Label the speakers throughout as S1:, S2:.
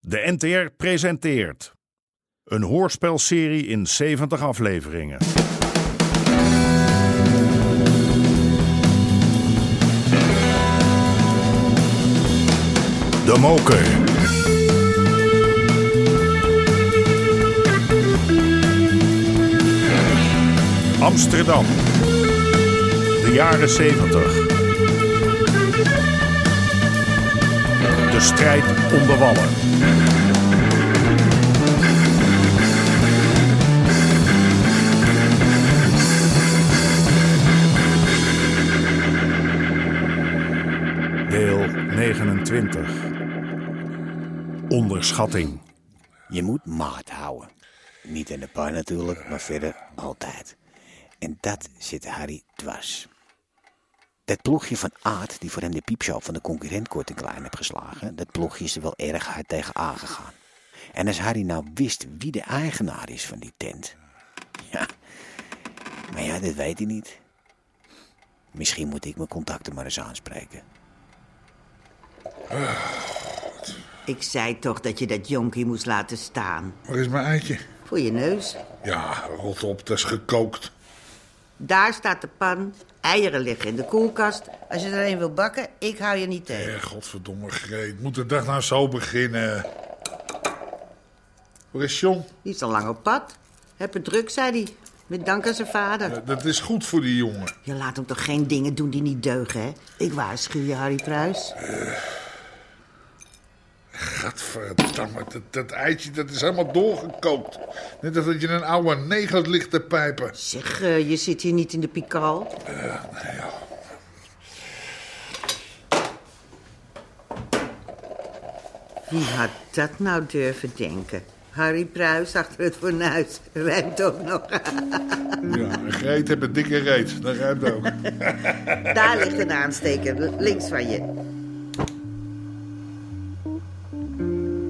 S1: De NTR presenteert een hoorspelserie in 70 afleveringen. De Moker. Amsterdam. De jaren 70. De strijd om de wallen. Deel 29. Onderschatting.
S2: Je moet maat houden. Niet in de pan natuurlijk, maar verder altijd. En dat zit Harry dwars. Dat ploegje van Aad, die voor hem de piepshow van de concurrent kort en klein heeft geslagen, dat ploegje is er wel erg hard tegen aangegaan. En als Harry nou wist wie de eigenaar is van die tent. Ja, maar ja, dat weet hij niet. Misschien moet ik mijn contacten maar eens aanspreken.
S3: Ik zei toch dat je dat jonkie moest laten staan.
S4: Waar is mijn eitje?
S3: Voor je neus.
S4: Ja, rot op, dat is gekookt.
S3: Daar staat de pan. Eieren liggen in de koelkast. Als je er een wil bakken, ik hou je niet tegen.
S4: Eh, godverdomme greet. Moet de dag nou zo beginnen? Waar is John?
S3: Die is al lang op pad. Heb het druk, zei hij. Met dank aan zijn vader.
S4: Eh, Dat is goed voor die jongen.
S3: Je laat hem toch geen dingen doen die niet deugen, hè? Ik waarschuw je, Harry Pruis.
S4: Gadverdamme, dat, dat eitje dat is helemaal doorgekookt. Net als dat je een oude neger ligt te pijpen.
S3: Zeg, eh, je zit hier niet in de pikal. Wie had dat nou durven denken? Harry Pruis achter het fornuis. Rijmt ook nog.
S4: Ja, Greet heeft een dikke reet. Dat ruimt ook.
S3: Daar ligt een aansteker, links van je.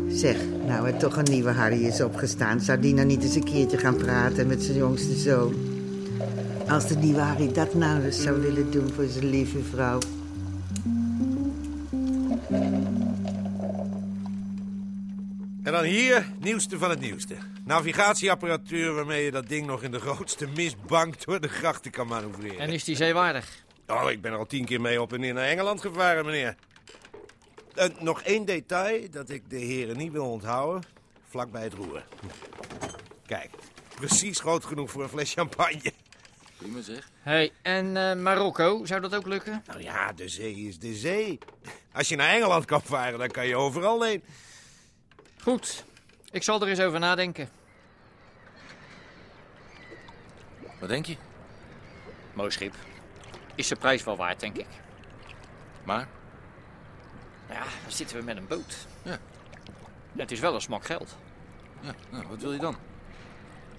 S3: Zeg, nou er toch een nieuwe Harry is opgestaan... zou die nou niet eens een keertje gaan praten met zijn jongste zoon? Als de nieuwe Harry dat nou eens zou willen doen voor zijn lieve vrouw.
S5: En dan hier, nieuwste van het nieuwste. Navigatieapparatuur waarmee je dat ding nog in de grootste mistbank door de grachten kan manoeuvreren.
S6: En is die zeewaardig?
S5: Oh, ik ben er al tien keer mee op en neer naar Engeland gevaren, meneer. Eh, nog één detail dat ik de heren niet wil onthouden. Vlak bij het roer. Kijk, precies groot genoeg voor een fles champagne.
S6: Hé, hey, en eh, Marokko, zou dat ook lukken?
S5: Nou ja, de zee is de zee. Als je naar Engeland kan varen, dan kan je overal heen.
S6: Goed, ik zal er eens over nadenken.
S7: Wat denk je?
S6: Mooi schip. Is de prijs wel waard, denk ik.
S7: Maar?
S6: Ja, dan zitten we met een boot.
S7: Ja.
S6: Het is wel een smak geld.
S7: Ja, nou, wat wil je dan?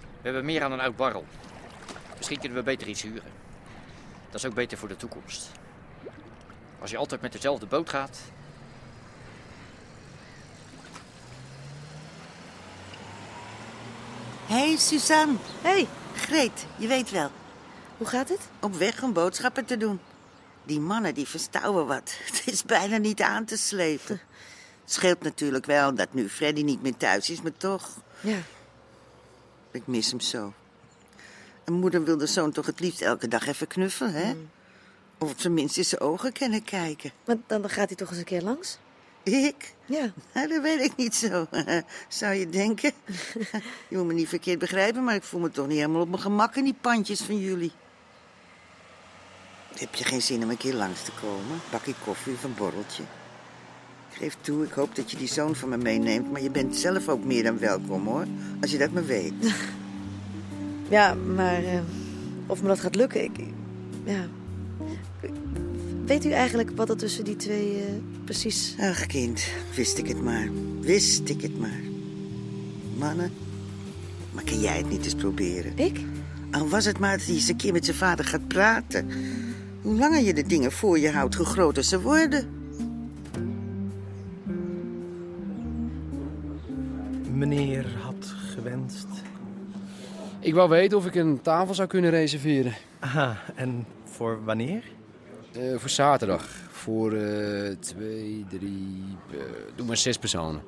S6: We hebben meer aan een oud barrel. Misschien kunnen we beter iets huren. Dat is ook beter voor de toekomst. Als je altijd met dezelfde boot gaat.
S3: Hé, hey, Suzanne.
S8: Hey,
S3: Greet, je weet wel.
S8: hoe gaat het?
S3: Op weg om boodschappen te doen. Die mannen die verstouwen wat. Het is bijna niet aan te slepen. Scheelt natuurlijk wel dat nu Freddy niet meer thuis is, maar toch...
S8: Ja.
S3: Ik mis hem zo. Een moeder wil de zoon toch het liefst elke dag even knuffelen, hè? Of op zijn minst in zijn ogen kunnen kijken.
S8: Maar dan, dan gaat hij toch eens een keer langs?
S3: Ik?
S8: Ja.
S3: Nou, dat weet ik niet zo. Zou je denken? je moet me niet verkeerd begrijpen, maar ik voel me toch niet helemaal op mijn gemak in die pandjes van jullie. Heb je geen zin om een keer langs te komen? Pak ik koffie of een borreltje? Ik geef toe, ik hoop dat je die zoon van me meeneemt, maar je bent zelf ook meer dan welkom hoor, als je dat maar weet.
S8: Ja, maar eh, of me dat gaat lukken, ik... ik- Ja. Weet u eigenlijk wat er tussen die twee eh, precies...
S3: Ach, kind, wist ik het maar. Wist ik het maar. Mannen, maar kan jij het niet eens proberen?
S8: Ik?
S3: Al was het maar dat hij eens een keer met zijn vader gaat praten. Hoe langer je de dingen voor je houdt, hoe groter ze worden.
S9: Meneer had gewenst.
S10: Ik wou weten of ik een tafel zou kunnen reserveren.
S9: Aha, en voor wanneer?
S10: Eh, voor zaterdag. Voor eh, twee, drie... eh, doe maar zes personen.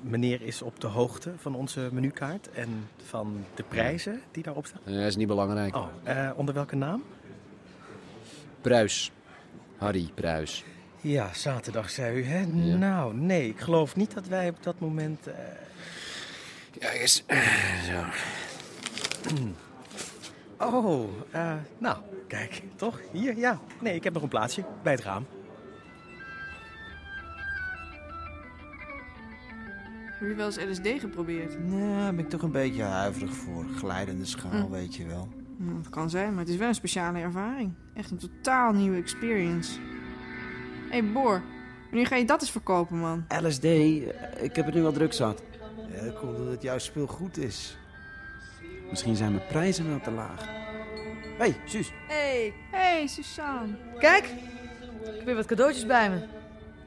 S5: meneer is op de hoogte van onze menukaart en van de prijzen die daarop staan.
S10: Nee, Eh, dat is niet belangrijk.
S5: Oh, eh, onder welke naam?
S10: Pruis. Harry Pruis.
S5: Ja, zaterdag zei u, hè? Nou, nee, ik geloof niet dat wij op dat moment... eh,
S10: Ja, is. Zo.
S5: Oh, eh, nou, kijk, toch? Hier, ja. Nee, ik heb nog een plaatsje bij het raam.
S11: Heb je wel eens LSD geprobeerd?
S2: Ja, daar ben ik toch een beetje huiverig voor. Glijdende schaal,
S11: Hm.
S2: weet je wel.
S11: Hm, Dat kan zijn, maar het is wel een speciale ervaring. Echt een totaal nieuwe experience. Hé, hey, Boor. Wanneer ga je dat eens verkopen, man?
S2: LSD, eh, ik heb het nu wel druk zat. Ja, dat komt omdat jouw spul goed is. Misschien zijn mijn prijzen wel te laag. Hé, hey, Suus.
S11: Hey. Hey, Suzanne.
S8: Kijk, ik heb weer wat cadeautjes bij me.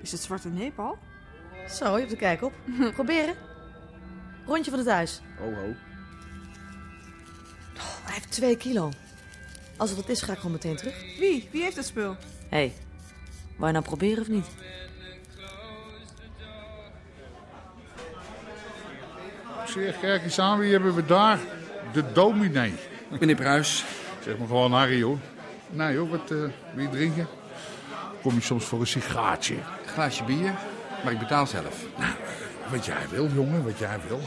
S11: Is het zwarte neep al?
S8: Zo, je hebt de kijk op. Proberen. Rondje van het huis. Oh,
S10: Ho, ho.
S8: Hij heeft twee kilo. Als het wat is, ga ik gewoon meteen terug.
S11: Wie? Wie heeft dat spul?
S8: Hé, hey, wou je nou proberen of niet?
S4: Zeg, kijk eens aan, wie hebben we daar? De dominee.
S12: Meneer Bruis.
S4: Zeg maar gewoon Harry, hoor. Nou joh, wat eh, wil je drinken? Kom je soms voor een sigaartje?
S12: glaasje bier, maar ik betaal zelf.
S4: Wat jij wil, jongen, wat jij wil.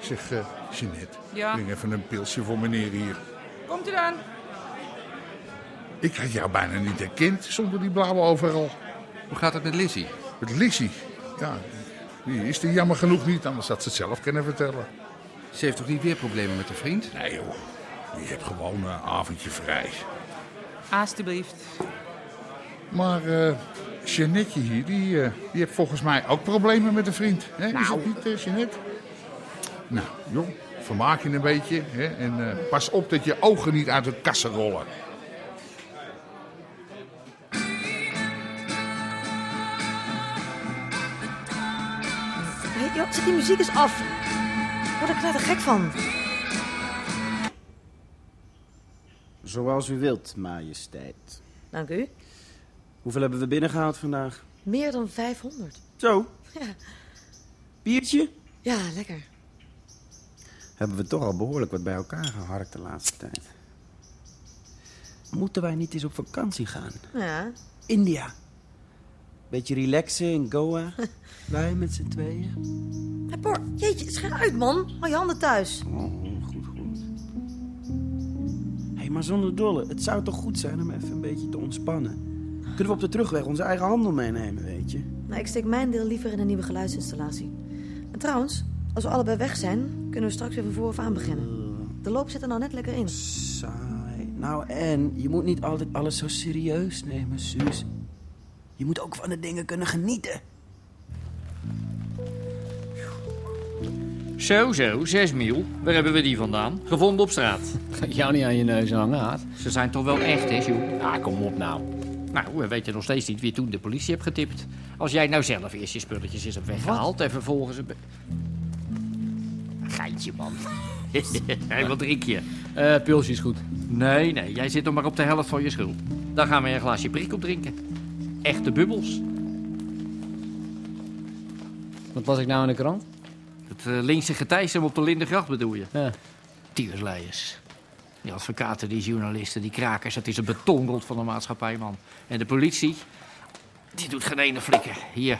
S4: Zeg, eh Jeanette,
S11: Ja?
S4: breng even een pilsje voor meneer hier.
S11: Komt u dan?
S4: Ik had jou bijna niet herkend zonder die blauwe overal.
S12: Hoe gaat het met Lizzie?
S4: Met Lizzie? Ja, die is er jammer genoeg niet, anders had ze het zelf kunnen vertellen.
S12: Ze heeft toch niet weer problemen met haar vriend?
S4: Nee joh, die hebt gewoon een avondje vrij.
S13: Alsjeblieft.
S4: Maar eh Jeannette hier, die, eh, die heeft volgens mij ook problemen met een vriend. Hè? Is het niet, eh, Jeannette? Nou, joh, vermaak je een beetje. Hè? En eh, pas op dat je ogen niet uit de kassen rollen.
S8: Hé, joh, zet die muziek eens af. Word ik daar gek van.
S3: Zoals u wilt, majesteit.
S8: Dank u.
S3: Hoeveel hebben we binnengehaald vandaag?
S8: Meer dan 500.
S3: Zo,
S8: Ja,
S3: biertje?
S8: ja lekker.
S3: Hebben we toch al behoorlijk wat bij elkaar geharkt de laatste tijd. Moeten wij niet eens op vakantie gaan?
S8: Ja.
S3: India. Beetje relaxen in Goa. wij met z'n tweeën.
S8: Hé, Por, jeetje, schijn uit, man. Hou je handen thuis.
S3: Oh, goed, goed. Hé, maar zonder dolle. Het zou toch goed zijn om even een beetje te ontspannen? Kunnen we op de terugweg onze eigen handel meenemen, weet je?
S8: Nou, ik steek mijn deel liever in een nieuwe geluidsinstallatie. En trouwens, als we allebei weg zijn, kunnen we straks weer van vooraf aan beginnen. De loop zit er nou net lekker in.
S3: Saai. Nou, en je moet niet altijd alles zo serieus nemen, Suus. Je moet ook van de dingen kunnen genieten.
S6: Zo, zo, zes mil. Waar hebben we die vandaan? Gevonden op straat.
S10: Ga jou niet aan je neus hangen, haat.
S6: Ze zijn toch wel echt, hè, Sjoe? Ah, kom op nou. Nou, we weten nog steeds niet wie toen de politie hebt getipt. Als jij nou zelf eerst je spulletjes eens hebt weggehaald en vervolgens... Een... be- Geintje, man. Hé, wat drink je?
S10: Eh, pilsje is goed.
S6: Nee, nee, jij zit nog maar op de helft van je schuld. Dan gaan we een glaasje prikkel drinken. Echte bubbels.
S10: Wat was ik nou in de krant?
S6: Het eh, linkse getijsem op de Lindengracht bedoel je? Ja. Tiersleiers. Die advocaten, die journalisten, die krakers. Het is een betonrot van de maatschappij, man. En de politie, die doet geen ene flikker. Hier.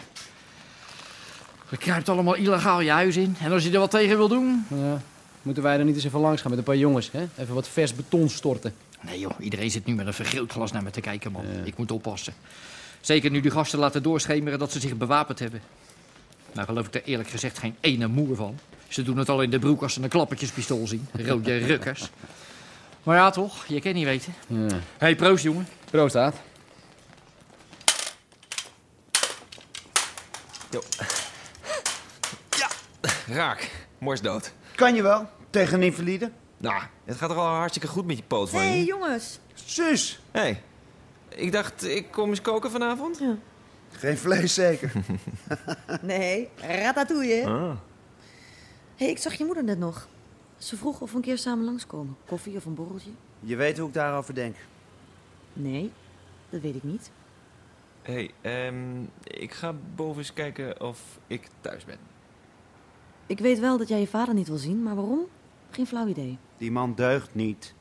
S6: Je kruipt allemaal illegaal je huis in. En als je er wat tegen wil doen...
S10: Ja. Moeten wij er niet eens even langs gaan met een paar jongens, hè? Even wat vers beton storten.
S6: Nee joh, iedereen zit nu met een vergrootglas naar me te kijken, man. Ik moet oppassen. Zeker nu die gasten laten doorschemeren dat ze zich bewapend hebben. Nou geloof ik er eerlijk gezegd geen ene moer van. Ze doen het al in de broek als ze een klappertjespistool zien. Rode rukkers. Maar ja toch, je kan niet weten.
S10: Ja.
S6: hey, proost jongen.
S10: Proost, haat.
S14: Raak, Mors dood.
S2: Kan je wel, tegen een invalide.
S14: Nou, het gaat toch al hartstikke goed met je poot van
S8: Hé, hey,
S14: je?
S8: jongens.
S2: Zus.
S14: Hé, hey, ik dacht, ik kom eens koken vanavond.
S2: Geen vlees zeker.
S8: Nee, ratatouille. Hé,
S14: Ah.
S8: hey, ik zag je moeder net nog. Ze vroeg of we een keer samen langskomen. Koffie of een borreltje?
S2: Je weet hoe ik daarover denk.
S8: Nee, dat weet ik niet.
S5: ehm,
S14: Hé, hey, ik ga boven eens kijken of ik thuis ben.
S8: Ik weet wel dat jij je vader niet wil zien, maar waarom? Geen flauw idee.
S15: Die man deugt niet.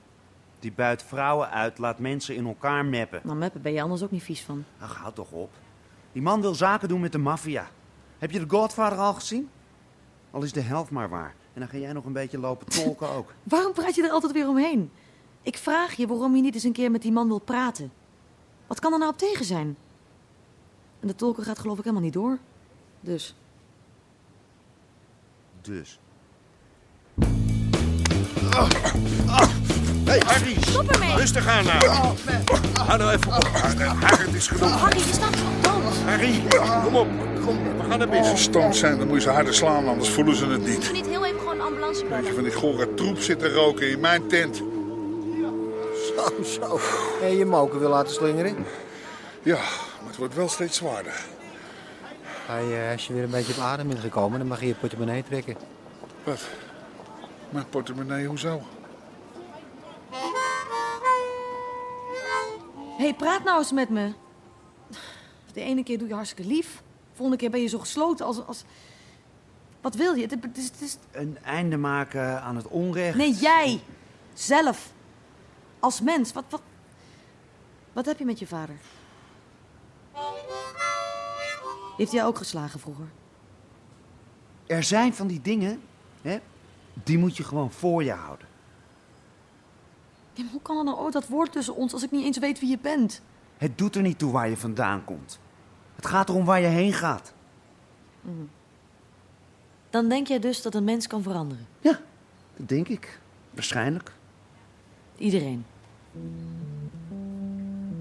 S15: Die buit vrouwen uit, laat mensen in elkaar meppen.
S8: Nou, meppen ben je anders ook niet vies van.
S15: Ach, houd toch op. Die man wil zaken doen met de maffia. Heb je de Godfather al gezien? Al is de helft maar waar. En dan ga jij nog een beetje lopen tolken ook.
S8: Waarom praat je er altijd weer omheen? Ik vraag je waarom je niet eens een keer met die man wil praten. Wat kan er nou op tegen zijn? En de tolken gaat geloof ik helemaal niet door. Dus,
S15: Dus.
S5: Ah, Hey, Harry!
S8: Stop ermee!
S5: Rustig aan nou! Hou nou even op. Harry, het is genoeg.
S8: Harry, je staat zo dood.
S5: Harry, kom op. Kom, we gaan naar
S4: Als
S5: binnen.
S4: ze stamp zijn, dan moet je ze harder slaan, anders voelen ze het niet.
S8: niet heel even gewoon een ambulance
S4: Weet je, van die gore troep zitten roken in mijn tent.
S16: Zo, zo. En je moken wil laten slingeren?
S4: Ja, maar het wordt wel steeds zwaarder.
S16: Ga je, als je weer een beetje op adem bent gekomen, dan mag je je portemonnee trekken.
S4: Wat? Mijn portemonnee, hoezo?
S8: Hé, hey, praat nou eens met me. De ene keer doe je hartstikke lief. Volgende keer ben je zo gesloten als... als... Wat wil je? Het, het is, het is...
S15: Een einde maken aan het onrecht.
S8: Nee, jij. Zelf. Als mens. Wat, wat... Wat heb je met je vader? Heeft hij jou ook geslagen vroeger?
S15: Er zijn van die dingen, hè, die moet je gewoon voor je houden.
S8: Ja, maar hoe kan er nou ooit dat woord tussen ons als ik niet eens weet wie je bent?
S15: Het doet er niet toe waar je vandaan komt. Het gaat erom waar je heen gaat.
S8: Hm. Dan denk jij dus dat een mens kan veranderen.
S15: Dat denk ik. Waarschijnlijk.
S8: Iedereen.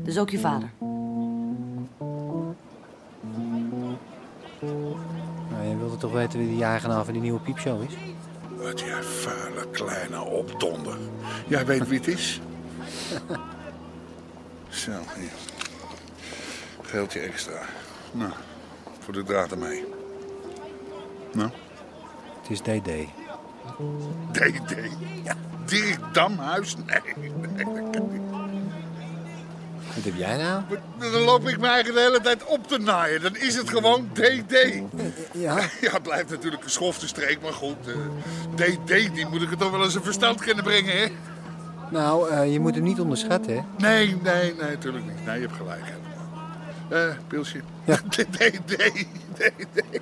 S8: Dus ook je vader.
S16: Nou, je wilde toch weten wie die eigenaar van die nieuwe piepshow is?
S4: Wat jij vuile kleine opdonder. Jij weet wie het is? Zo, hier. Geeltje extra. Nou, voor de draad ermee. Nou?
S16: Het is DD.
S4: DD. Ja, Dirk Damhuis? Nee, nee, dat kan niet.
S16: Wat heb jij nou?
S4: Dan loop ik mijn eigen de hele tijd op te naaien. Dan is het gewoon DD.
S16: Ja?
S4: Ja, het blijft natuurlijk een schofte streek, maar goed. eh, DD, die moet ik het toch wel eens een verstand kunnen brengen, hè?
S16: Nou, eh, je moet hem niet onderschatten, hè?
S4: Nee, nee, nee, natuurlijk niet. Nee, je hebt gelijk. helemaal. Eh, pilsje. DD, DD.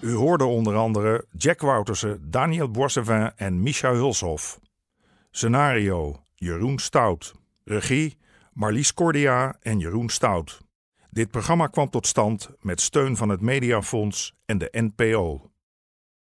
S1: U hoorde onder andere Jack Woutersen, Daniel Boissevin en Micha Hulshof. Scenario Jeroen Stout. Regie Marlies Cordia en Jeroen Stout. Dit programma kwam tot stand met steun van het Mediafonds en de NPO.